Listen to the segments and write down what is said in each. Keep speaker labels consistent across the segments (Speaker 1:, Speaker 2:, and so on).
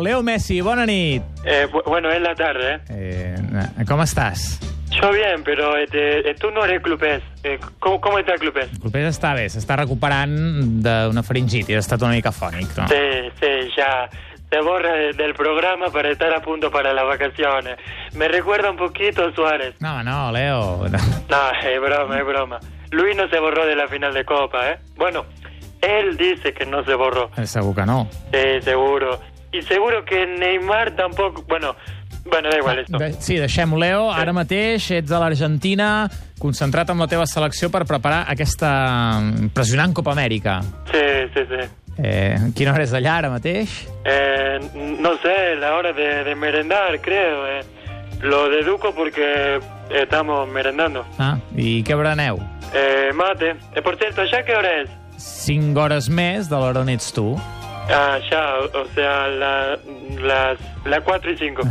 Speaker 1: Leo Messi, bona nit.
Speaker 2: Eh, bu- bueno, es la tarde. ¿eh?
Speaker 1: Eh, com estàs?
Speaker 2: Yo bien, pero este, eh, tú no eres clubes. Eh, ¿cómo, ¿Cómo está el clubes?
Speaker 1: Clopés està bé, s'està recuperant d'una faringitis, ha estat una mica fònic, no?
Speaker 2: Sí, sí, ya. Te borra de- del programa para estar a punto para las vacaciones. Me recuerda un poquito a Suárez.
Speaker 1: No, no, Leo... No.
Speaker 2: No, es broma, es broma. Luis no se borró de la final de Copa, ¿eh? Bueno, él dice que no se borró.
Speaker 1: Eh, Segur que no.
Speaker 2: Sí, seguro. Y seguro que Neymar tampoco... Bueno, bueno, da igual esto.
Speaker 1: De, sí, deixem Leo. Ara mateix ets a l'Argentina, concentrat amb la teva selecció per preparar aquesta impressionant Copa Amèrica.
Speaker 2: Sí, sí, sí.
Speaker 1: Eh, quina hora és allà ara mateix?
Speaker 2: Eh, no sé, la hora de, de merendar, creo. eh. Lo deduco porque estamos merendando.
Speaker 1: Ah, I què bereneu?
Speaker 2: Eh, mate. Eh, por cierto, ¿ya qué hora es?
Speaker 1: 5 hores més de l'hora on ets tu.
Speaker 2: Ah, ya, o, o sea, la, las, la 4 y 5.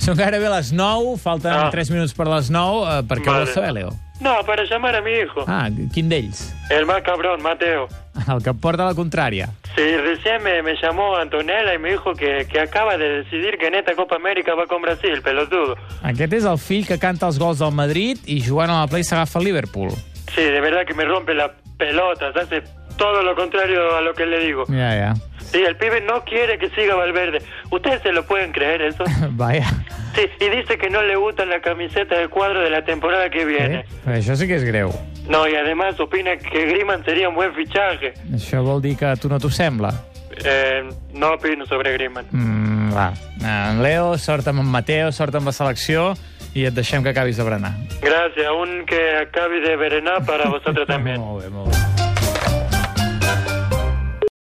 Speaker 1: Són gairebé les 9, falten
Speaker 2: Ah.
Speaker 1: ah. 3 minuts per les 9. Eh, per què
Speaker 2: Vale.
Speaker 1: vols saber, Leo?
Speaker 2: No, para llamar a mi hijo.
Speaker 1: Ah, quin d'ells?
Speaker 2: El más cabrón, Mateo.
Speaker 1: El que et porta a la contrària.
Speaker 2: Sí, recién me, me llamó Antonella y me dijo que, que acaba de decidir que en esta Copa América va con Brasil, pelotudo.
Speaker 1: Aquest és el fill que canta els gols del Madrid i jugant a la Play s'agafa el Liverpool.
Speaker 2: Sí, de verdad que me rompe las pelotas, hace todo lo contrario a lo que le digo.
Speaker 1: Ja, ja.
Speaker 2: Sí, el pibe no quiere que siga Valverde. ¿Ustedes se lo pueden creer eso?
Speaker 1: Vaja.
Speaker 2: Sí, y dice que no le gusta la camiseta del cuadro de la temporada que
Speaker 1: Eh?
Speaker 2: viene.
Speaker 1: Això sí que és greu.
Speaker 2: No, y además opina que Griman sería un buen fichaje.
Speaker 1: Això vol dir que a tu no t'ho sembla.
Speaker 2: Eh, no opino sobre Griman.
Speaker 1: Mm, va. En Leo, sort amb en Mateo, sort amb la selecció i et deixem que acabis de berenar.
Speaker 2: Gracias, aunque acabe de verenar para vosotros también.
Speaker 1: Molt bé, molt bé.